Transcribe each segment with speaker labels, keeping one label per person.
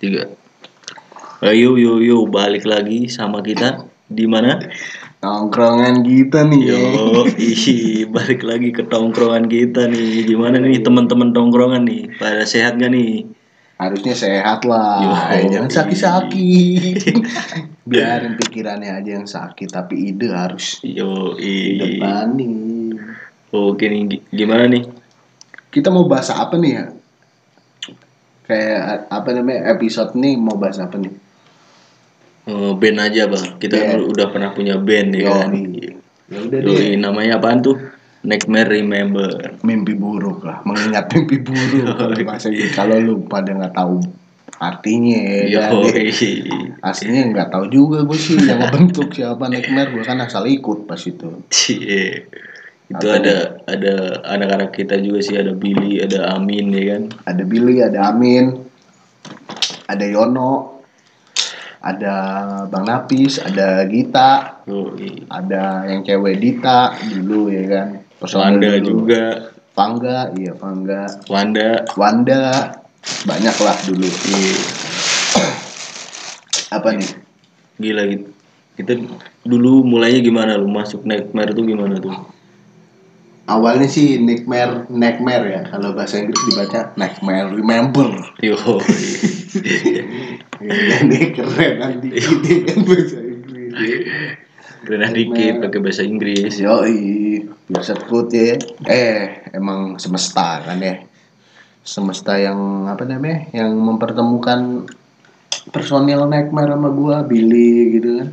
Speaker 1: tiga Eh, ayo yo yo balik lagi sama kita di mana
Speaker 2: Nongkrongan kita nih yo.
Speaker 1: yo ih, balik lagi ke tongkrongan kita nih gimana nih teman-teman tongkrongan nih pada sehat gak nih
Speaker 2: Harusnya sehat lah.
Speaker 1: Yo. iya.
Speaker 2: Jangan sakit-sakit. Biarin pikirannya aja yang sakit tapi ide harus
Speaker 1: yo ih.
Speaker 2: didepani.
Speaker 1: oke nih gi- gimana nih
Speaker 2: Kita mau bahas apa nih ya? Kayak apa namanya episode nih mau bahas apa nih?
Speaker 1: Eh, band aja bang kita kan
Speaker 2: Band.
Speaker 1: udah pernah punya band ya kan
Speaker 2: nih. Ya udah
Speaker 1: yo
Speaker 2: deh.
Speaker 1: namanya apaan tuh Nightmare Remember
Speaker 2: Mimpi buruk lah, mengingat mimpi buruk kalau
Speaker 1: iya.
Speaker 2: bahasa gitu. Kalau lu pada nggak tahu artinya
Speaker 1: yo iya.
Speaker 2: ya. kan?
Speaker 1: ih.
Speaker 2: Aslinya nggak tahu juga gue sih yang bentuk siapa Nightmare gue kan asal ikut pas itu.
Speaker 1: Cie. Itu
Speaker 2: Apa
Speaker 1: ada ada anak-anak kita juga sih ada Billy, ada Amin ya kan.
Speaker 2: Ada Billy, ada Amin, ada Yono, ada Bang Napis, ada Gita,
Speaker 1: Yo, i-
Speaker 2: ada yang cewek Dita dulu ya kan. Personil
Speaker 1: Wanda
Speaker 2: dulu.
Speaker 1: juga,
Speaker 2: Pangga, iya Pangga.
Speaker 1: Wanda.
Speaker 2: Wanda banyak lah dulu.
Speaker 1: i-
Speaker 2: Apa nih?
Speaker 1: Gila gitu. Kita dulu mulainya gimana lu masuk Nightmare tuh gimana tuh?
Speaker 2: Awalnya sih Nightmare, Nightmare ya. Kalau bahasa Inggris dibaca Nightmare Remember.
Speaker 1: Yo. i-
Speaker 2: Ini keren nanti
Speaker 1: Iya.
Speaker 2: gitu kan bahasa Inggris.
Speaker 1: Keren dikit pakai bahasa Inggris.
Speaker 2: Yoi, Biasa Kut ya. Eh, emang semesta kan ya. Semesta yang apa namanya? Yang mempertemukan personil Nightmare sama gua, Billy gitu kan.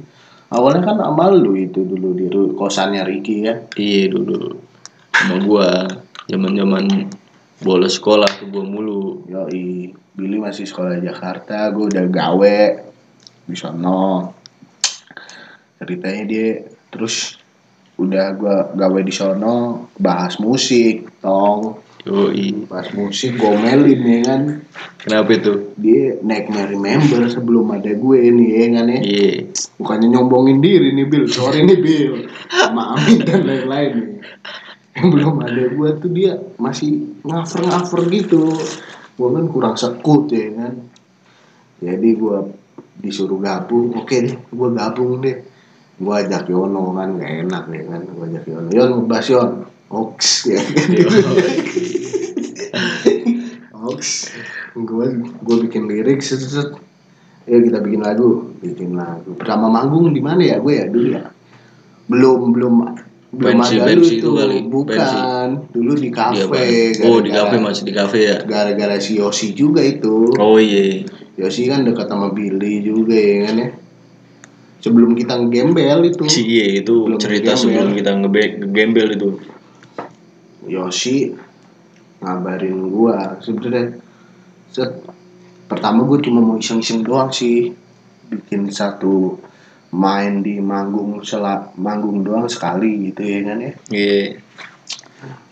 Speaker 2: Awalnya kan sama lu itu dulu di ru- kosannya Ricky ya.
Speaker 1: Iya dulu. Sama gua zaman-zaman bolos sekolah tuh gua mulu.
Speaker 2: Yoi, Billy masih sekolah di Jakarta, gua udah gawe di sono. Ceritanya dia terus udah gua gawe di sono bahas musik, tong.
Speaker 1: Yo. i.
Speaker 2: pas musik gomelin ya kan
Speaker 1: Kenapa itu?
Speaker 2: dia nightmare remember sebelum ada gue nih ya kan ya
Speaker 1: Iya.
Speaker 2: bukannya nyombongin diri nih Bill sorry nih Bill sama Amin dan lain-lain nih yang belum ada gue tuh dia masih ngaver ngaver gitu gue kan kurang sekut ya kan jadi gue disuruh gabung oke deh gue gabung deh gue ajak Yono kan gak enak ya kan gue ajak Yono Yon ngebas Yon Oks ya kan Oks gue gue bikin lirik set, set, set. ya kita bikin lagu bikin lagu pertama manggung di mana ya gue ya dulu ya belum belum belum
Speaker 1: Pensi-
Speaker 2: ada lu
Speaker 1: pensi
Speaker 2: itu
Speaker 1: itu kali,
Speaker 2: bukan
Speaker 1: pensi.
Speaker 2: dulu di
Speaker 1: Iya,
Speaker 2: kafe
Speaker 1: Bang. oh di kafe
Speaker 2: gara-gara-
Speaker 1: masih di kafe ya
Speaker 2: gara-gara si Yosi juga itu
Speaker 1: oh iya
Speaker 2: Yosi kan dekat sama Billy juga ya kan ya sebelum kita ngegembel itu
Speaker 1: Cie iya, itu
Speaker 2: Belum
Speaker 1: cerita
Speaker 2: ngegembel.
Speaker 1: sebelum kita ngebe- ngegembel itu
Speaker 2: Yosi ngabarin gua sebenarnya set pertama gua cuma mau iseng-iseng doang sih bikin satu main di manggung selap manggung doang sekali gitu ya kan ya
Speaker 1: iya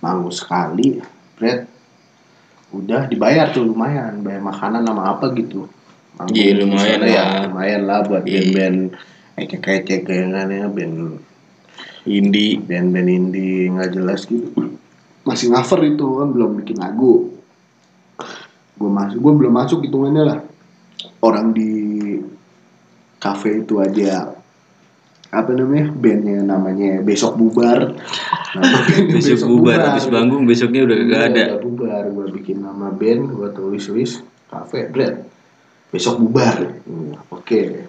Speaker 2: manggung sekali Fred udah dibayar tuh lumayan bayar makanan sama apa gitu Manggung
Speaker 1: Iya, lumayan
Speaker 2: di sana
Speaker 1: lah.
Speaker 2: lumayan lah buat
Speaker 1: Iya.
Speaker 2: band-band ecek-ecek kayak kan ya band
Speaker 1: Indi
Speaker 2: band-band indie nggak jelas gitu masih cover itu kan belum bikin lagu gue masuk gue belum masuk hitungannya lah orang di cafe itu aja apa namanya bandnya namanya besok bubar Nama bandnya
Speaker 1: besok bubar habis
Speaker 2: gitu.
Speaker 1: bangun besoknya udah gak
Speaker 2: Iya,
Speaker 1: ada
Speaker 2: udah bubar gue bikin nama band gue tulis tulis kafe bread besok bubar Hmm, oke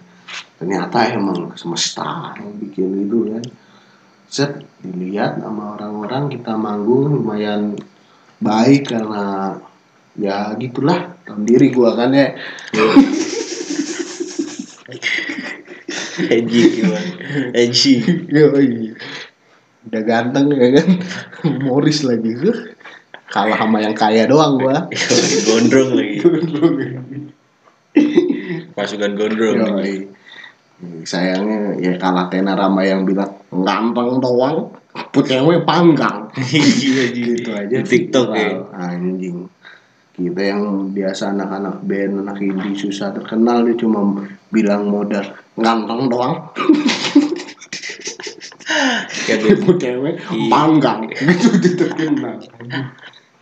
Speaker 2: ternyata emang semesta yang bikin itu kan set dilihat sama orang-orang kita manggung lumayan baik karena ya gitulah tahu diri gue kan ya
Speaker 1: Eji gimana Eji
Speaker 2: Yoi. udah ganteng ya kan humoris lagi kalah sama yang kaya doang gue
Speaker 1: Yoi, gondrong lagi pasukan gondrong
Speaker 2: Yoi. Hmm, Sayangnya ya kalah tenar sama yang bilang gampang doang, putihnya panggang.
Speaker 1: iya Ji.
Speaker 2: Gitu
Speaker 1: di TikTok ya
Speaker 2: viral. Anjing. Kita yang biasa anak-anak band, anak indie susah terkenal dia cuma bilang modal gampang doang,
Speaker 1: kayak gitu.
Speaker 2: putihnya panggang. Gitu dia
Speaker 1: Iya.
Speaker 2: terkenal.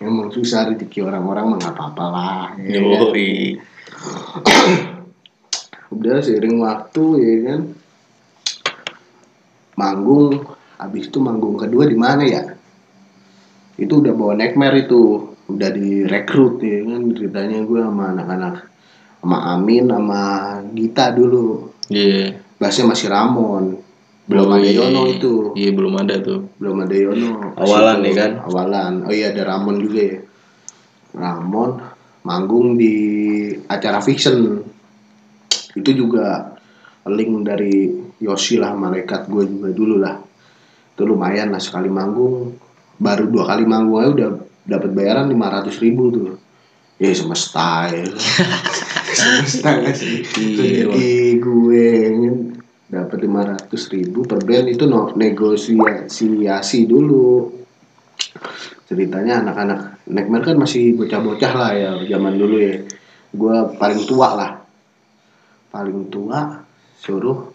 Speaker 2: Emang susah rezeki orang-orang mah nggak apa-apa lah. ya kan?
Speaker 1: Yoi.
Speaker 2: udah seiring waktu ya kan manggung habis itu manggung kedua di mana ya itu udah bawa neckmare itu udah direkrut ya kan ceritanya gue sama anak-anak sama Amin sama Gita dulu
Speaker 1: Iya.
Speaker 2: bassnya masih Ramon belum
Speaker 1: Oh,
Speaker 2: ada
Speaker 1: iya.
Speaker 2: Yono itu
Speaker 1: Iya, belum ada tuh.
Speaker 2: belum ada Yono
Speaker 1: Awalan nih kan?
Speaker 2: awalan oh iya ada Ramon juga ya Ramon manggung di acara fiction itu juga link dari Yosi lah malaikat gue juga dulu lah itu lumayan lah sekali manggung baru dua kali manggung aja udah dapat bayaran 500.000 ribu tuh ya semesta ya semesta gak sih
Speaker 1: Iya,
Speaker 2: rezeki gue kan dapat 500.000 ribu per band itu no, negosiasi dulu ceritanya anak-anak Neckmare kan masih bocah-bocah lah ya zaman dulu ya gue paling tua lah paling tua suruh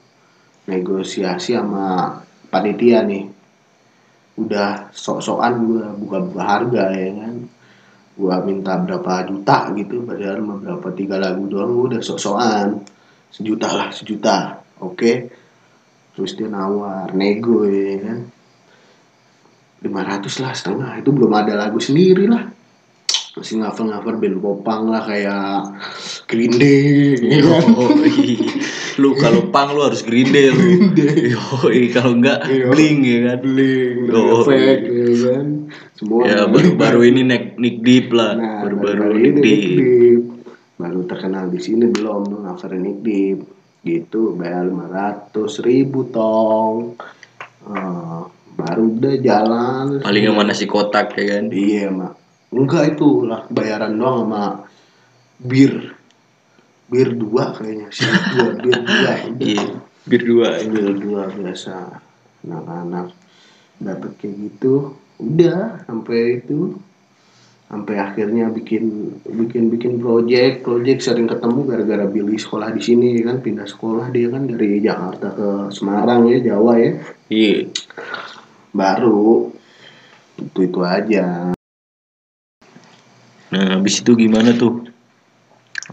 Speaker 2: negosiasi sama panitia nih udah sok-sokan gue buka-buka harga ya kan gue minta berapa juta gitu padahal mah berapa tiga lagu doang gue udah sok-sokan sejuta lah sejuta oke terus dia nawar nego ya kan 500 lah setengah itu belum ada lagu sendiri lah masih cover-cover band popang lah kayak Green Day ya kan?
Speaker 1: Yoi. lu kalau pang lu harus Green Day lu. Yoi, kalau enggak
Speaker 2: Iya.
Speaker 1: bling ya kan.
Speaker 2: bling,
Speaker 1: Oh,
Speaker 2: efek, ya kan? Semua
Speaker 1: Ya baru-baru ini naik Nick Deep lah.
Speaker 2: Nah,
Speaker 1: Baru-baru
Speaker 2: baru-baru
Speaker 1: Nick
Speaker 2: ini
Speaker 1: Deep.
Speaker 2: Dikdip. Baru terkenal di sini belum tuh cover Dikdip. Gitu bayar 500 ribu tong. Eh, baru udah jalan.
Speaker 1: Paling yang mana si kotak ya kan.
Speaker 2: Iya, Mak. Enggak itu lah bayaran doang sama bir. Bir dua kayaknya sih. Dua, bir dua. ya udah.
Speaker 1: Iya. Bir dua.
Speaker 2: Ambil dua biasa anak-anak dapat kayak gitu udah sampai itu sampai akhirnya bikin bikin bikin project project sering ketemu gara-gara Billy sekolah di sini ya kan pindah sekolah dia kan dari Jakarta ke Semarang ya Jawa ya
Speaker 1: Iya.
Speaker 2: baru itu itu aja
Speaker 1: Nah, habis itu gimana tuh?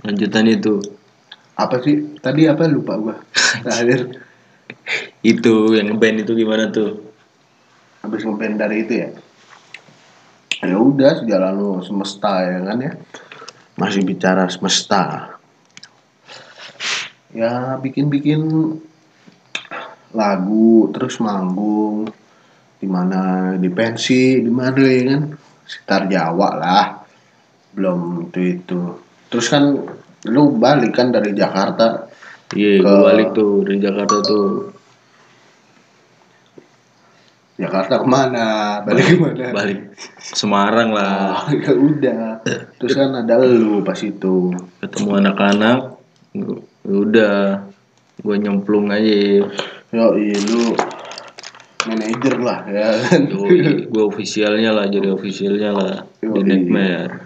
Speaker 1: Lanjutan itu.
Speaker 2: apa sih tadi apa lupa gua terakhir
Speaker 1: Itu yang ngeband itu gimana tuh?
Speaker 2: habis ngeband dari itu ya ya udah sejalan lu semesta ya kan ya masih bicara semesta ya bikin-bikin lagu terus manggung di mana di pensi di mana ya kan sekitar Jawa lah belum itu itu terus kan lu balik kan dari Jakarta
Speaker 1: Iya, gua
Speaker 2: Ke-
Speaker 1: balik tuh dari Jakarta tuh.
Speaker 2: Jakarta kemana balik kemana
Speaker 1: Balik Semarang lah.
Speaker 2: Oh, ya udah. Terus kan ada lu pas itu.
Speaker 1: Ketemu anak-anak. Ya Udah. Gua nyemplung aja.
Speaker 2: Yo, iya, lu manajer lah ya kan.
Speaker 1: Yoi, gue ofisialnya lah, jadi ofisialnya lah di
Speaker 2: Yoi.
Speaker 1: Netmare.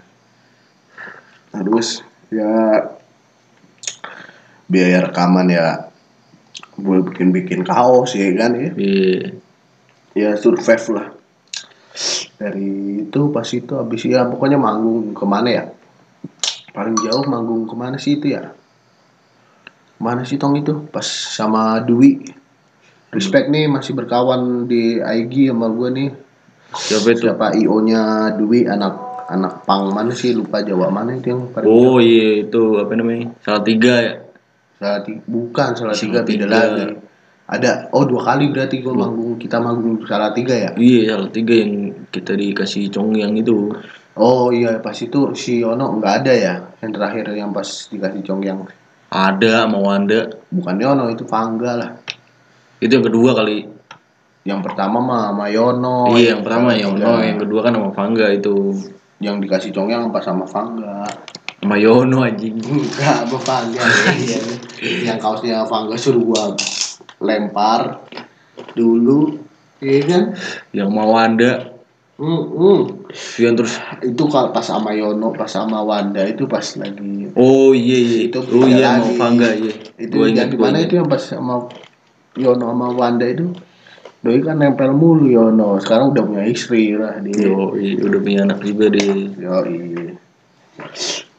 Speaker 2: Nah, terus ya biaya rekaman ya boleh bikin-bikin kaos ya kan ya.
Speaker 1: Iya.
Speaker 2: Ya survive lah. Dari itu pas itu habis ya pokoknya manggung kemana ya? Paling jauh manggung kemana sih itu ya? Mana sih tong itu? Pas sama Dwi. Respect nih masih berkawan di IG sama gue nih.
Speaker 1: Siapa itu?
Speaker 2: Siapa IO-nya Dwi anak anak pang mana sih lupa Jawa mana itu yang paling
Speaker 1: Oh iya itu apa namanya? Salah tiga ya.
Speaker 2: Salah ti- bukan salah tiga beda
Speaker 1: Salatiga.
Speaker 2: lagi. Ada oh dua kali berarti gue manggung kita manggung salah tiga ya.
Speaker 1: Iya salah tiga yang kita dikasih cong yang itu.
Speaker 2: Oh iya pas itu si Yono nggak ada ya yang terakhir yang pas dikasih Chongyang
Speaker 1: Ada mau anda.
Speaker 2: bukan Yono itu Pangga lah
Speaker 1: Itu yang kedua kali.
Speaker 2: yang pertama mah sama Yono
Speaker 1: iya yang pertama yang Yono,
Speaker 2: Tiga.
Speaker 1: yang kedua kan sama Fangga itu.
Speaker 2: yang dikasih Chongyang pas sama Pangga
Speaker 1: Sama Yono anjing.
Speaker 2: enggak sama Pangga Iya. yang kaosnya Pangga suruh gua lempar dulu iya kan
Speaker 1: Yang mau anda.
Speaker 2: Hmm, hmm.
Speaker 1: Yang terus.
Speaker 2: itu kalau pas sama Yono pas sama Wanda itu pas lagi
Speaker 1: Oh iya iya
Speaker 2: Itu
Speaker 1: Oh iya
Speaker 2: lagi.
Speaker 1: mau Fangga iya.
Speaker 2: itu
Speaker 1: Gua
Speaker 2: yang
Speaker 1: ingat,
Speaker 2: di
Speaker 1: gua
Speaker 2: mana
Speaker 1: ingat.
Speaker 2: itu yang pas sama Yono sama Wanda itu doi kan nempel mulu Yono sekarang udah punya istri lah dia
Speaker 1: Yo, iya, udah punya anak juga deh.
Speaker 2: yo iya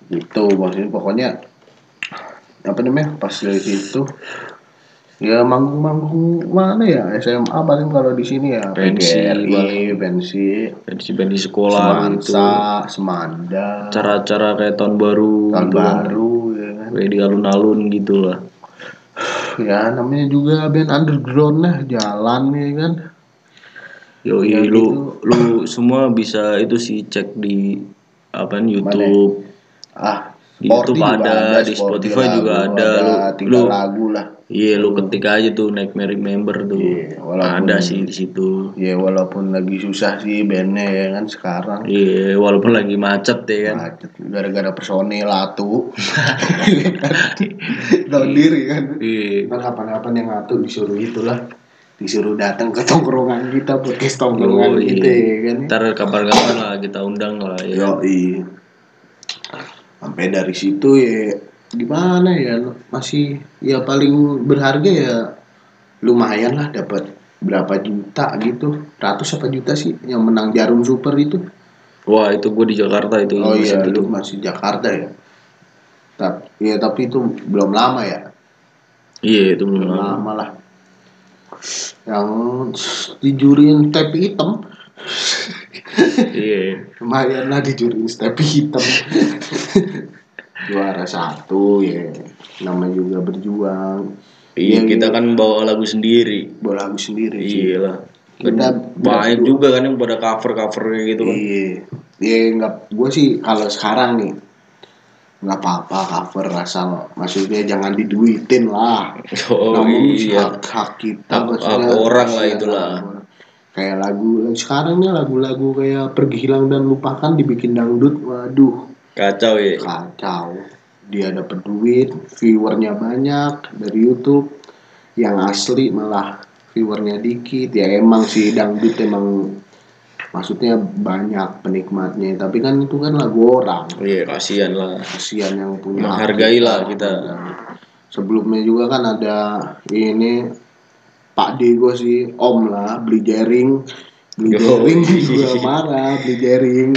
Speaker 2: gitu maksudnya pokoknya apa namanya pas dari situ ya manggung-manggung mana ya SMA paling kalau di sini ya
Speaker 1: Pensi,
Speaker 2: PGRI, pensi
Speaker 1: pensi-pensi sekolah gitu.
Speaker 2: Semansa Semanda
Speaker 1: Cara-cara kayak tahun baru
Speaker 2: tahun
Speaker 1: gitu lah.
Speaker 2: baru ya kan
Speaker 1: Kayak di alun-alun gitu lah.
Speaker 2: ya namanya juga band underground lah jalan ya kan
Speaker 1: Yoi,
Speaker 2: Ya,
Speaker 1: iya, lu lu semua bisa itu sih cek di apa nih, YouTube.
Speaker 2: ah
Speaker 1: Di
Speaker 2: Sporty
Speaker 1: YouTube
Speaker 2: juga
Speaker 1: ada, di
Speaker 2: Sporty
Speaker 1: Spotify juga ada, lu-
Speaker 2: tiga
Speaker 1: lu-
Speaker 2: lagu lah
Speaker 1: Iya, lu ketik aja tuh Nightmare Remember tuh.
Speaker 2: Iya, walaupun-
Speaker 1: ada sih di situ.
Speaker 2: ya walaupun lagi susah sih bandnya ya kan sekarang
Speaker 1: Iya, walaupun lagi macet ya kan.
Speaker 2: Macet, gara-gara personil atu tahu diri kan
Speaker 1: Iya.
Speaker 2: Nah, kapan-kapan yang atu disuruh itulah disuruh datang ke tongkrongan kita podcast tongkrongan
Speaker 1: Yoi.
Speaker 2: kita ya kan
Speaker 1: Ntar kapan-kapan lah kita undang lah ya.
Speaker 2: Yoi. Sampai dari situ ya gimana ya masih ya paling berharga ya lumayan lah dapat berapa juta gitu ratus apa juta sih yang menang jarum super itu
Speaker 1: Wah itu gue di Jakarta itu
Speaker 2: oh iya
Speaker 1: itu.
Speaker 2: lu masih Jakarta ya tapi ya tapi itu belum lama ya
Speaker 1: Iya itu belum
Speaker 2: belum
Speaker 1: lama.
Speaker 2: lama lah yang dijuriin tepi hitam
Speaker 1: Iya.
Speaker 2: lumayan lah dijuriin tapi hitam juara satu ya namanya juga berjuang
Speaker 1: Iya
Speaker 2: Yang
Speaker 1: kita kan bawa lagu sendiri.
Speaker 2: bola lagu sendiri sih.
Speaker 1: Iya lah.
Speaker 2: Kita
Speaker 1: Banyak juga kan yang pada cover cover gitu kan.
Speaker 2: iya iya nggak gue sih kalau sekarang nih nggak apa-apa cover asal maksudnya jangan diduitin lah
Speaker 1: Oh
Speaker 2: namun
Speaker 1: iya.
Speaker 2: hak, hak kita
Speaker 1: Hak-
Speaker 2: maksudnya
Speaker 1: hak orang lah
Speaker 2: iya,
Speaker 1: itulah.
Speaker 2: hak orang. kayak lagu sekarang nih lagu-lagu kayak pergi hilang dan lupakan dibikin dangdut waduh
Speaker 1: Kacau ya.
Speaker 2: kacau dia dapat duit viewernya banyak dari YouTube yang asli malah viewernya dikit ya emang sih dangdut emang maksudnya banyak penikmatnya tapi kan itu kan lagu orang
Speaker 1: Iya kasihan lah.
Speaker 2: kasihan yang punya hak
Speaker 1: Menghargailah kita.
Speaker 2: sebelumnya juga kan ada ini Pak D gue sih Om lah beli jaring beli
Speaker 1: Yoi.
Speaker 2: jaring juga marah beli jaring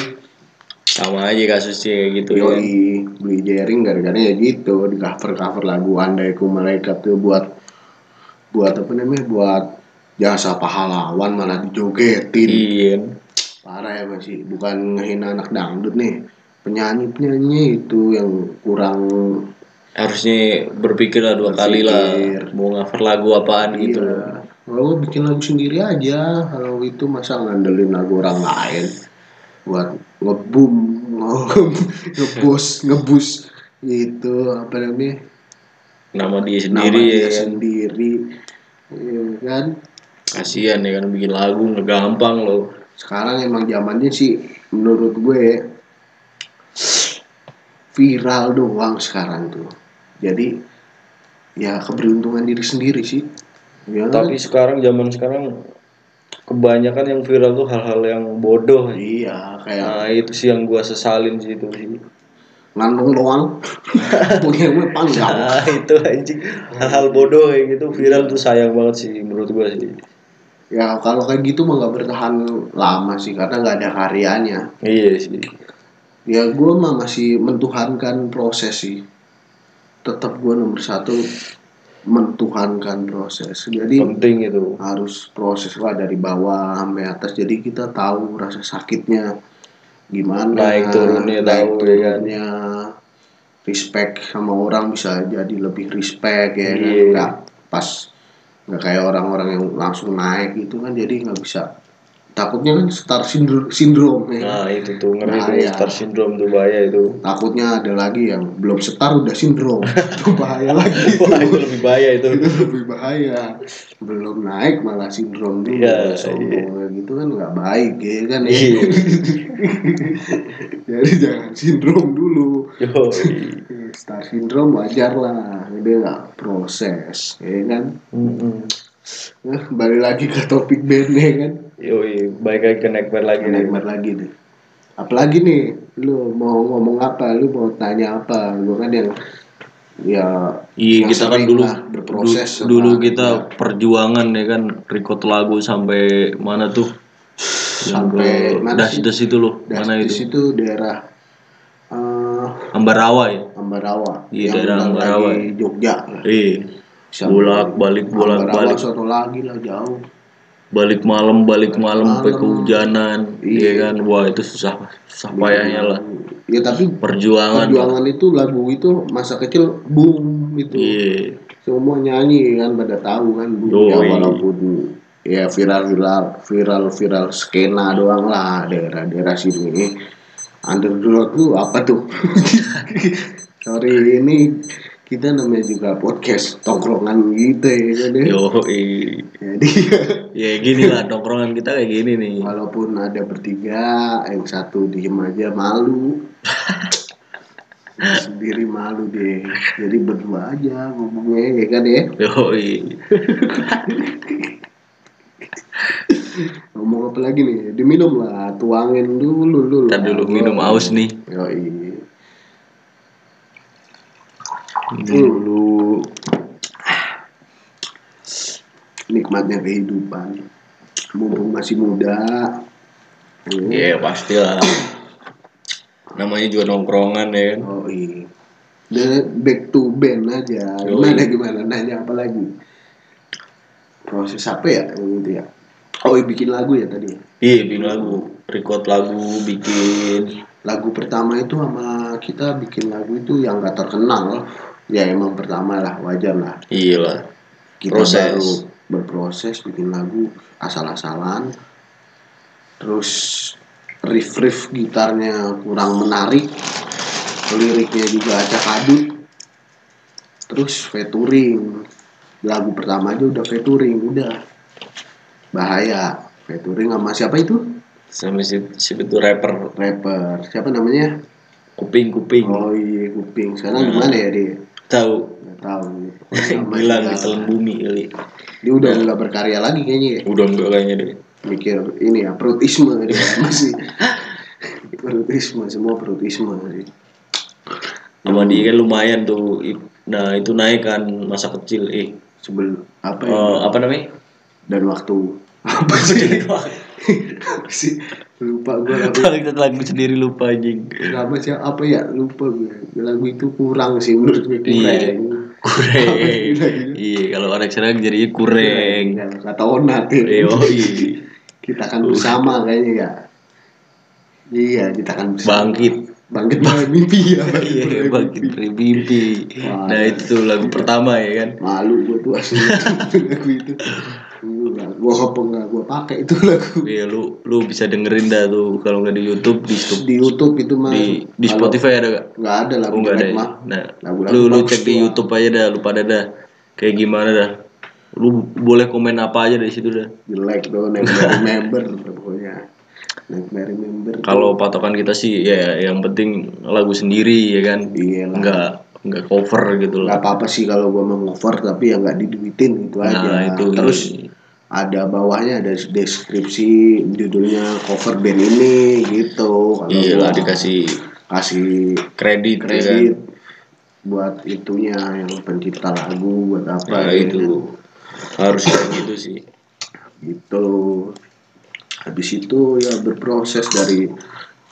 Speaker 1: Sama aja kasusnya gitu ya. kan.
Speaker 2: Yoi, beli jaring gara-gara ya gitu di cover cover lagu andai ku malaikat tuh buat buat apa namanya buat jasa pahlawan malah dijogetin
Speaker 1: Iya.
Speaker 2: parah ya masih bukan ngehina anak dangdut nih penyanyi penyanyi itu yang kurang
Speaker 1: Harusnya berpikir lah dua kali lah. Mau cover lagu apaan gitu. loh.
Speaker 2: Iya. Kalau bikin lagu sendiri aja, kalau itu masa ngandelin lagu orang lain buat ngebum, nge- ngebos, ngebus itu apa namanya
Speaker 1: Nama dia
Speaker 2: nama
Speaker 1: sendiri ya
Speaker 2: dia
Speaker 1: kan.
Speaker 2: sendiri, Iya kan?
Speaker 1: Kasihan ya kan bikin lagu nggak gampang loh.
Speaker 2: Sekarang emang zamannya sih menurut gue ya, viral doang sekarang tuh. Jadi ya keberuntungan diri sendiri sih. Ya,
Speaker 1: Tapi sekarang zaman sekarang kebanyakan yang viral tuh hal-hal yang bodoh.
Speaker 2: iya kayak
Speaker 1: Nah itu sih yang gua sesalin sih itu sih.
Speaker 2: ngandung doang punya gue panggang
Speaker 1: Nah itu anjing hal-hal bodoh kayak gitu viral tuh sayang banget sih menurut gua sih.
Speaker 2: ya kalau kayak gitu mah nggak bertahan lama sih karena nggak ada karyanya
Speaker 1: Iya sih.
Speaker 2: ya gue mah masih mentuhankan proses sih tetap gue nomor satu mentuhankan proses jadi
Speaker 1: Penting itu.
Speaker 2: harus proses lah dari bawah sampai atas jadi kita tahu rasa sakitnya gimana
Speaker 1: Naik turunnya
Speaker 2: naik
Speaker 1: tahu, ya kan?
Speaker 2: turunnya respect sama orang bisa jadi lebih respect ya kan
Speaker 1: Iya.
Speaker 2: Nggak pas nggak kayak orang-orang yang langsung naik gitu kan jadi nggak bisa takutnya kan star syndrome, syndrome ya.
Speaker 1: Nah itu tuh ngeri
Speaker 2: Nah,
Speaker 1: tuh
Speaker 2: iya.
Speaker 1: star syndrome tuh bahaya itu.
Speaker 2: takutnya ada lagi yang belum setar udah sindrom itu bahaya lagi
Speaker 1: Wah itu lebih bahaya itu.
Speaker 2: itu lebih bahaya belum naik malah sindrom dulu
Speaker 1: Iya,
Speaker 2: sombong gitu kan nggak baik ya kan ya.
Speaker 1: Iya.
Speaker 2: jadi jangan sindrom dulu
Speaker 1: Yo.
Speaker 2: star sindrom wajar lah dia nggak proses ya kan nah, balik lagi ke topik band ya kan
Speaker 1: Yo, baik lagi ke Neckbear lagi nih.
Speaker 2: Neymar lagi deh apalagi nih lu mau ngomong apa lu mau tanya apa gua kan yang ya
Speaker 1: Iya
Speaker 2: yang
Speaker 1: kita kan
Speaker 2: sering
Speaker 1: dulu
Speaker 2: lah berproses
Speaker 1: du-
Speaker 2: sama-
Speaker 1: dulu kita perjuangan ya kan record lagu sampai mana tuh
Speaker 2: Sampai
Speaker 1: Yang ke
Speaker 2: mana
Speaker 1: das
Speaker 2: sih?
Speaker 1: das itu loh
Speaker 2: Nah, Dan
Speaker 1: mana
Speaker 2: di
Speaker 1: itu
Speaker 2: situ daerah eh
Speaker 1: Ambarawa ya.
Speaker 2: Ambarawa
Speaker 1: Iya,
Speaker 2: yang
Speaker 1: daerah
Speaker 2: udah
Speaker 1: Ambarawa.
Speaker 2: lagi Jogja
Speaker 1: Iya. Bolak-balik, bolak-balik.
Speaker 2: Ambarawa satu lagi lah jauh
Speaker 1: Balik malam, balik malam sampai
Speaker 2: malam.
Speaker 1: kehujanan, iya
Speaker 2: Iya.
Speaker 1: kan? Wah, itu susah susah payahnya lah.
Speaker 2: ya tapi
Speaker 1: Perjuangan. lah.
Speaker 2: perjuangan itu lagu itu masa kecil boom itu
Speaker 1: Iya.
Speaker 2: semua nyanyi kan pada tahu kan Bu.
Speaker 1: Yoi.
Speaker 2: ya walaupun ya viral viral viral viral skena doang lah daerah-daerah sini underdog tuh apa tuh sorry ini kita namanya juga podcast tongkrongan gitu ya kan ya.
Speaker 1: Yo,
Speaker 2: jadi
Speaker 1: ya gini lah tongkrongan kita kayak gini nih.
Speaker 2: walaupun ada bertiga yang satu diem aja malu sendiri malu deh jadi berdua aja ngomongnya ya kan ya
Speaker 1: Yo,
Speaker 2: Ngomong apa lagi nih? Diminum lah, tuangin dulu dulu.
Speaker 1: Ntar dulu minum aus nih.
Speaker 2: Yoi.
Speaker 1: Dulu.
Speaker 2: Nikmatnya kehidupan. Mumpung masih muda.
Speaker 1: Iya,
Speaker 2: Iya.
Speaker 1: pastilah. Namanya juga nongkrongan ya kan.
Speaker 2: Yoi. Dan back to band aja.
Speaker 1: Yoi.
Speaker 2: Gimana gimana nanya apa lagi? Proses apa ya yang itu ya? Oh, bikin lagu ya tadi.
Speaker 1: Iya, bikin lagu, record lagu, bikin.
Speaker 2: Lagu pertama itu sama kita bikin lagu itu yang gak terkenal. Ya emang pertama lah, wajar lah.
Speaker 1: Iya lah.
Speaker 2: kita
Speaker 1: Proses.
Speaker 2: baru berproses bikin lagu asal-asalan terus riff riff gitarnya kurang menarik liriknya juga acak adut terus featuring lagu pertama aja udah featuring udah bahaya featuring sama siapa itu
Speaker 1: Sama si, si itu rapper
Speaker 2: rapper siapa namanya
Speaker 1: kuping-kuping.
Speaker 2: oh iya kuping sekarang
Speaker 1: Hmm. gitu
Speaker 2: gimana ya dia
Speaker 1: Tahu
Speaker 2: nggak tahu Sama
Speaker 1: hilang
Speaker 2: dia.
Speaker 1: di telan bumi kali.
Speaker 2: dia udah nggak berkarya lagi kayaknya ya
Speaker 1: Udah enggak kayaknya deh.
Speaker 2: mikir ini ya perutisme dia masih perutisme semua perutisme sih
Speaker 1: Sama dia kan lumayan tuh. I- Nah, itu naik kan masa kecil. Eh,
Speaker 2: sebelum apa ya
Speaker 1: eh, apa namanya?
Speaker 2: dan waktu apa sih Apa sih lupa gue lagu
Speaker 1: Kalau kita lagu sendiri lupa anjing.
Speaker 2: apa sih apa ya lupa gue lagu itu kurang sih menurut gue kurang
Speaker 1: Iya. Kureng. Iya, kalau orang serang jadi kureng.
Speaker 2: Ya, kata onat ya.
Speaker 1: Yoi.
Speaker 2: kita akan bersama kayaknya ya iya kita akan bersama
Speaker 1: Bangkit.
Speaker 2: bangkit bangkit mimpi ya
Speaker 1: Iya, bangkit dari mimpi.
Speaker 2: Wah.
Speaker 1: Nah, itu tuh lagu pertama ya kan.
Speaker 2: malu gue tuh asli lagu itu gue apa nggak gue pakai itu lagu
Speaker 1: Iya, lu lu bisa dengerin dah tuh kalau nggak di YouTube di Stu-
Speaker 2: di YouTube itu mah
Speaker 1: di, di
Speaker 2: kalau
Speaker 1: Spotify ada gak?
Speaker 2: nggak ada lagu
Speaker 1: Oh nggak ada.
Speaker 2: jelek
Speaker 1: ya?
Speaker 2: mah
Speaker 1: Nah,
Speaker 2: Lagu-lagu
Speaker 1: lu lu
Speaker 2: bagus
Speaker 1: cek di
Speaker 2: doang.
Speaker 1: YouTube aja dah, lu pada dah. Kayak gimana dah? Lu boleh komen apa aja dari situ dah.
Speaker 2: jelek tuh nightmare member pokoknya nightmare member
Speaker 1: Kalau patokan kita sih ya yang penting lagu sendiri ya kan.
Speaker 2: iya lah
Speaker 1: Nggak nggak cover gitu
Speaker 2: nggak
Speaker 1: loh.
Speaker 2: apa apa sih kalau gue mau cover tapi ya nggak diduitin gitu aja
Speaker 1: Nah, itu
Speaker 2: terus ada bawahnya ada deskripsi judulnya cover band ini gitu kalau
Speaker 1: iya lah
Speaker 2: gua
Speaker 1: dikasih
Speaker 2: kasih
Speaker 1: kredit, ya kan.
Speaker 2: kredit buat itunya yang pencipta lagu buat apa
Speaker 1: Nah,
Speaker 2: ya.
Speaker 1: itu harus kayak gitu sih.
Speaker 2: gitu habis itu ya berproses dari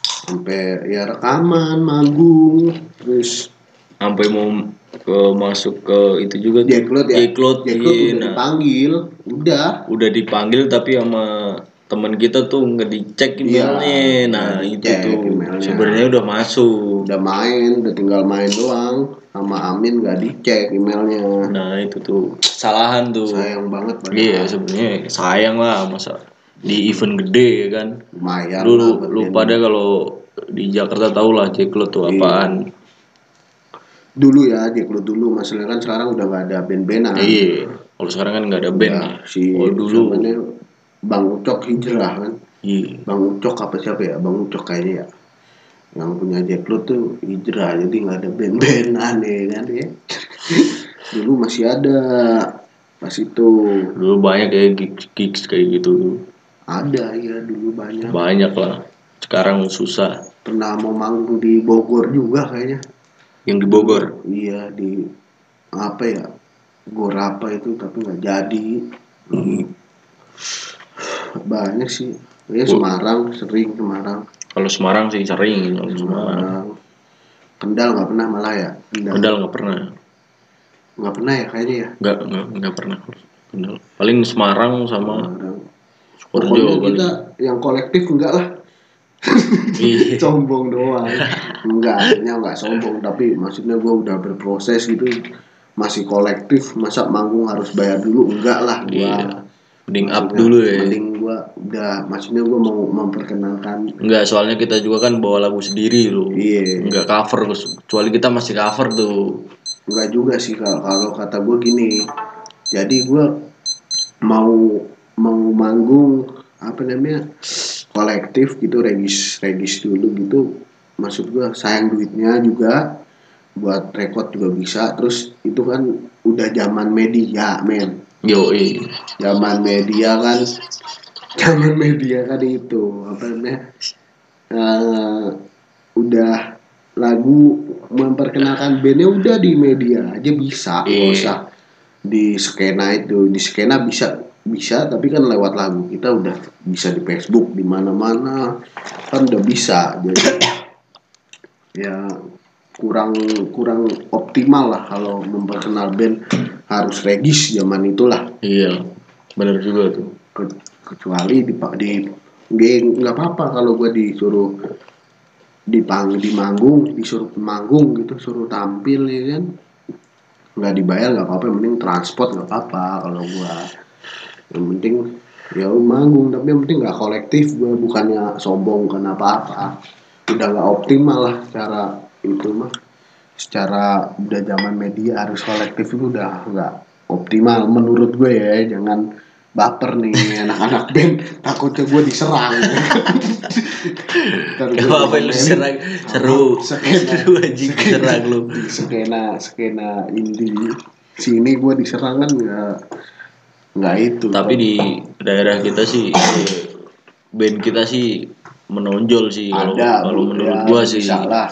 Speaker 2: sampai ya rekaman manggung terus
Speaker 1: Sampai mau ke, masuk ke itu juga tuh.
Speaker 2: Jack Lot ya
Speaker 1: Jaklot,
Speaker 2: Jack Lot
Speaker 1: iya,
Speaker 2: udah
Speaker 1: nah.
Speaker 2: dipanggil udah
Speaker 1: udah dipanggil tapi sama teman kita tuh nggak dicek
Speaker 2: Iya,
Speaker 1: emailnya nah
Speaker 2: nggak
Speaker 1: itu
Speaker 2: dicek
Speaker 1: tuh
Speaker 2: emailnya.
Speaker 1: sebenarnya udah masuk
Speaker 2: udah main udah tinggal main doang sama Amin nggak dicek emailnya
Speaker 1: nah itu tuh kesalahan tuh
Speaker 2: Iya. sayang banget padahal.
Speaker 1: iya sebenarnya sayang lah masa di event gede ya kan
Speaker 2: lumayan lah
Speaker 1: dulu
Speaker 2: buat
Speaker 1: lu
Speaker 2: band.
Speaker 1: pada kalau di Jakarta tau lah Jeklo tuh
Speaker 2: Iya.
Speaker 1: apaan
Speaker 2: dulu ya Jack Lot dulu masalahnya kan sekarang udah nggak ada band-bandan
Speaker 1: iya kalau sekarang kan nggak ada band
Speaker 2: Ya,
Speaker 1: nih.
Speaker 2: Nah. si
Speaker 1: kalau oh, dulu
Speaker 2: namanya Bang Ucok hijrah kan
Speaker 1: iya
Speaker 2: Bang Ucok apa siapa ya Bang Ucok kayaknya ya yang punya Jackpot tuh hijrah jadi nggak ada band-band aneh kan ya dulu masih ada pas itu
Speaker 1: dulu banyak ya gigs gigs kayak gitu tuh
Speaker 2: ada ya dulu banyak
Speaker 1: banyak lah sekarang susah
Speaker 2: pernah mau manggung di Bogor juga kayaknya
Speaker 1: yang di Bogor
Speaker 2: iya di apa ya gor apa itu tapi nggak jadi banyak sih ya Semarang sering Semarang
Speaker 1: Kalau Semarang sih sering kalau Semarang.
Speaker 2: Semarang Kendal nggak pernah malah ya. Kendal
Speaker 1: Kendal nggak pernah.
Speaker 2: nggak pernah ya kayaknya ya.
Speaker 1: Nggak nggak nggak pernah. Kendal. Paling Semarang sama
Speaker 2: Pokoknya
Speaker 1: Sukoharjo
Speaker 2: kita
Speaker 1: paling.
Speaker 2: yang kolektif enggak lah.
Speaker 1: gitu. Iya.
Speaker 2: sombong doang enggak artinya enggak sombong tapi maksudnya gue udah berproses gitu masih kolektif masa manggung harus bayar dulu enggak lah gue
Speaker 1: Iya. Mending up dulu ya.
Speaker 2: mending gue udah maksudnya gue mau memperkenalkan
Speaker 1: Enggak, soalnya kita juga kan bawa lagu sendiri loh.
Speaker 2: iya
Speaker 1: Enggak cover, kecuali kita masih cover tuh.
Speaker 2: enggak juga sih kalau kalau kata gue gini jadi gue mau mau manggung apa namanya kolektif gitu regis regis dulu gitu maksud gue sayang duitnya juga buat rekod juga bisa terus itu kan udah zaman media men
Speaker 1: Yoi.
Speaker 2: zaman media kan zaman media kan itu apa namanya eh, udah lagu memperkenalkan bandnya udah di media aja bisa nggak
Speaker 1: Iya.
Speaker 2: usah di skena itu di skena bisa bisa tapi kan lewat lagu kita udah bisa di Facebook di mana-mana kan udah bisa jadi ya kurang kurang optimal lah kalau memperkenal band harus regis zaman itulah
Speaker 1: Iya. Bener juga tuh.
Speaker 2: Ke- kecuali di di di- nggak apa-apa kalau gue disuruh dipang di manggung disuruh manggung gitu suruh tampil ya kan nggak dibayar nggak apa-apa yang penting transport nggak apa-apa kalau gue yang penting ya lu manggung tapi yang penting nggak kolektif gue bukannya sombong bukan apa-apa udah nggak optimal lah secara itu mah secara udah zaman media harus kolektif itu udah nggak optimal menurut gue ya jangan baper nih anak-anak band takutnya gue diserang Ntar
Speaker 1: Gak
Speaker 2: gua
Speaker 1: apa-apa lu
Speaker 2: diomelin.
Speaker 1: serang. Seru.
Speaker 2: Sekena.
Speaker 1: Seru anjing serang lu.
Speaker 2: di skena skena indie sini gue diserang kan nggak nggak itu
Speaker 1: Tapi di daerah kita sih band kita sih menonjol sih kalau
Speaker 2: ada
Speaker 1: kalau
Speaker 2: udah,
Speaker 1: menurut gua sih.
Speaker 2: bisa lah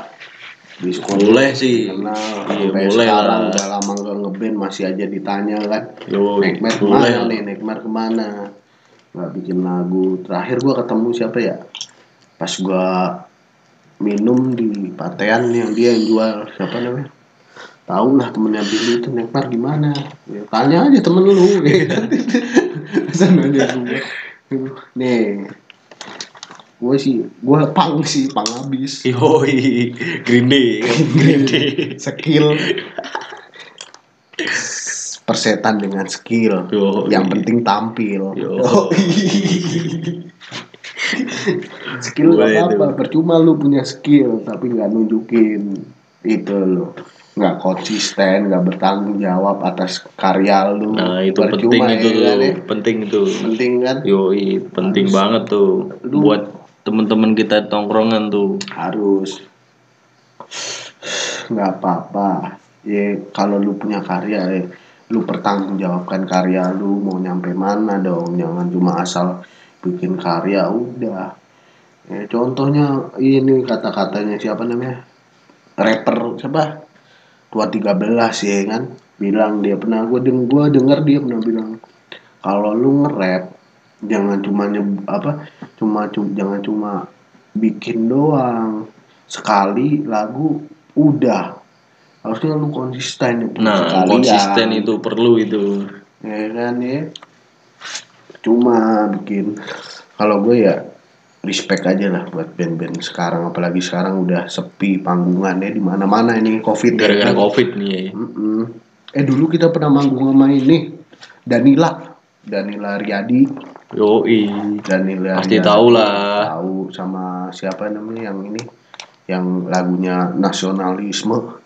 Speaker 2: di sekolah
Speaker 1: Boleh sih.
Speaker 2: kenal
Speaker 1: Iya,
Speaker 2: sampai
Speaker 1: boleh
Speaker 2: sekarang
Speaker 1: lah.
Speaker 2: udah lama nggak ngeband masih aja ditanya kan
Speaker 1: Yo,
Speaker 2: Nekmer
Speaker 1: boleh.
Speaker 2: kemana nih Nekmer kemana nggak bikin lagu terakhir gua ketemu siapa ya pas gua minum di patean yang dia yang jual siapa namanya tahu lah temennya Billy itu Nekmer gimana ya, tanya aja temen lu ya kan Masa nanya gua nih gue sih gue pang sih pang habis
Speaker 1: Yoi. Green Day. Green Day.
Speaker 2: skill persetan dengan skill
Speaker 1: Yoi.
Speaker 2: yang penting tampil Oh,
Speaker 1: Yoi.
Speaker 2: skill
Speaker 1: Boleh
Speaker 2: gak apa
Speaker 1: tuh.
Speaker 2: percuma lu punya skill tapi nggak nunjukin itu lo nggak konsisten nggak bertanggung jawab atas karya lu
Speaker 1: Nah, itu penting
Speaker 2: percuma
Speaker 1: itu
Speaker 2: ya
Speaker 1: tuh.
Speaker 2: kan, ya.
Speaker 1: Penting tuh.
Speaker 2: penting kan
Speaker 1: Yoi, penting
Speaker 2: Harus.
Speaker 1: banget tuh
Speaker 2: Lu-
Speaker 1: buat temen-temen kita tongkrongan tuh.
Speaker 2: harus nggak apa-apa ya kalau lu punya karya ya lu pertanggungjawabkan karya lu mau nyampe mana dong jangan cuma asal bikin karya udah ya, contohnya ini kata-katanya siapa namanya rapper siapa tua 13 ya kan bilang dia pernah gue deng gua denger dia pernah bilang kalau lu nge-rap jangan cuma nyeb- apa cuma cu- jangan cuma bikin doang sekali lagu udah harusnya lu konsisten itu
Speaker 1: Nah,
Speaker 2: sekalian.
Speaker 1: konsisten itu perlu itu.
Speaker 2: ya kan ya cuma bikin kalau gue ya respect aja lah buat band-band sekarang apalagi sekarang udah sepi panggungannya di mana-mana ini covid ya
Speaker 1: Gara-gara
Speaker 2: kan?
Speaker 1: covid nih.
Speaker 2: Mm-mm. eh dulu kita pernah manggung sama ini Danila Danila Riyadi
Speaker 1: Yoi.
Speaker 2: Danila
Speaker 1: Pasti
Speaker 2: Riyadi.
Speaker 1: tahu lah.
Speaker 2: tahu sama siapa namanya yang ini yang lagunya nasionalisme